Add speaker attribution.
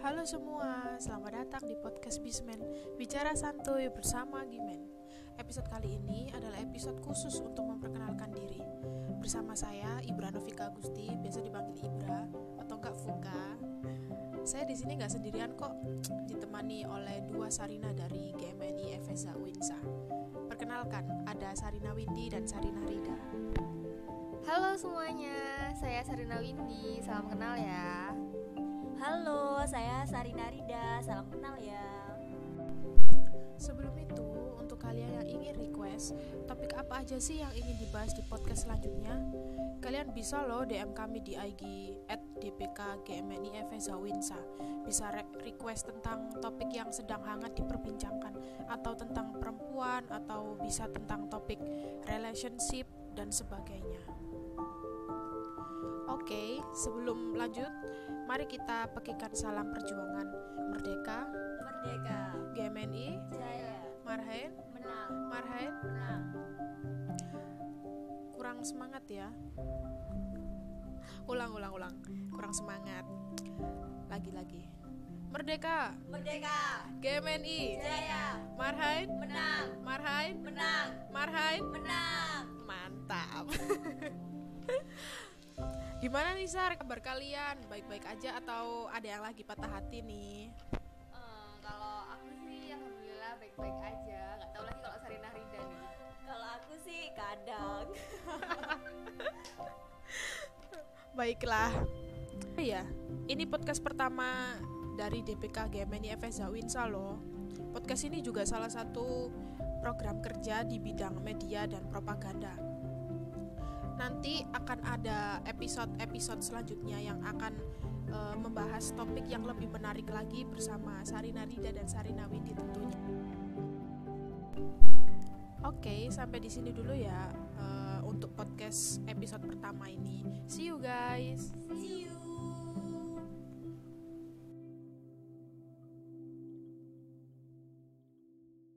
Speaker 1: Halo semua, selamat datang di podcast Bismen Bicara Santuy bersama Gimen Episode kali ini adalah episode khusus untuk memperkenalkan diri Bersama saya, Ibra Novika Agusti, biasa dipanggil Ibra atau Kak Fuka Saya di sini nggak sendirian kok, ditemani oleh dua Sarina dari GMNI FSA Winsa Perkenalkan, ada Sarina Windy dan Sarina Rida
Speaker 2: Halo semuanya, saya Sarina Windy, salam kenal ya.
Speaker 3: Halo, saya Sarina Rida. Salam kenal ya.
Speaker 1: Sebelum itu, untuk kalian yang ingin request topik apa aja sih yang ingin dibahas di podcast selanjutnya, kalian bisa loh DM kami di IG @dpkgmnifsawinsa. E Bisa re- request tentang topik yang sedang hangat diperbincangkan atau tentang perempuan atau bisa tentang topik relationship dan sebagainya. Oke, sebelum lanjut, mari kita pekikan salam perjuangan Merdeka,
Speaker 3: Merdeka.
Speaker 1: GMNI,
Speaker 3: Jaya.
Speaker 1: Marhaen,
Speaker 3: Menang.
Speaker 1: Marhaen,
Speaker 3: Menang.
Speaker 1: kurang semangat ya ulang ulang ulang kurang semangat lagi lagi merdeka
Speaker 3: Merdeka.
Speaker 1: GMNI
Speaker 3: Jaya.
Speaker 1: Marhain
Speaker 3: Menang.
Speaker 1: Marhain
Speaker 3: Menang.
Speaker 1: Marhain
Speaker 3: Menang.
Speaker 1: mantap gimana nih Sar kabar kalian baik-baik aja atau ada yang lagi patah hati nih
Speaker 2: Eh, kalau aku sih alhamdulillah baik-baik aja, nggak tahu lagi kalau Sarina Rida nih.
Speaker 3: Kalau aku sih kadang.
Speaker 1: baiklah iya ini podcast pertama dari DPK GMNI FSH Winsa loh podcast ini juga salah satu program kerja di bidang media dan propaganda nanti akan ada episode-episode selanjutnya yang akan eh, membahas topik yang lebih menarik lagi bersama Sarina Rida dan Sarina Windy tentunya Oke, sampai di sini dulu ya eh, untuk podcast episode pertama ini. See you guys.
Speaker 3: See you.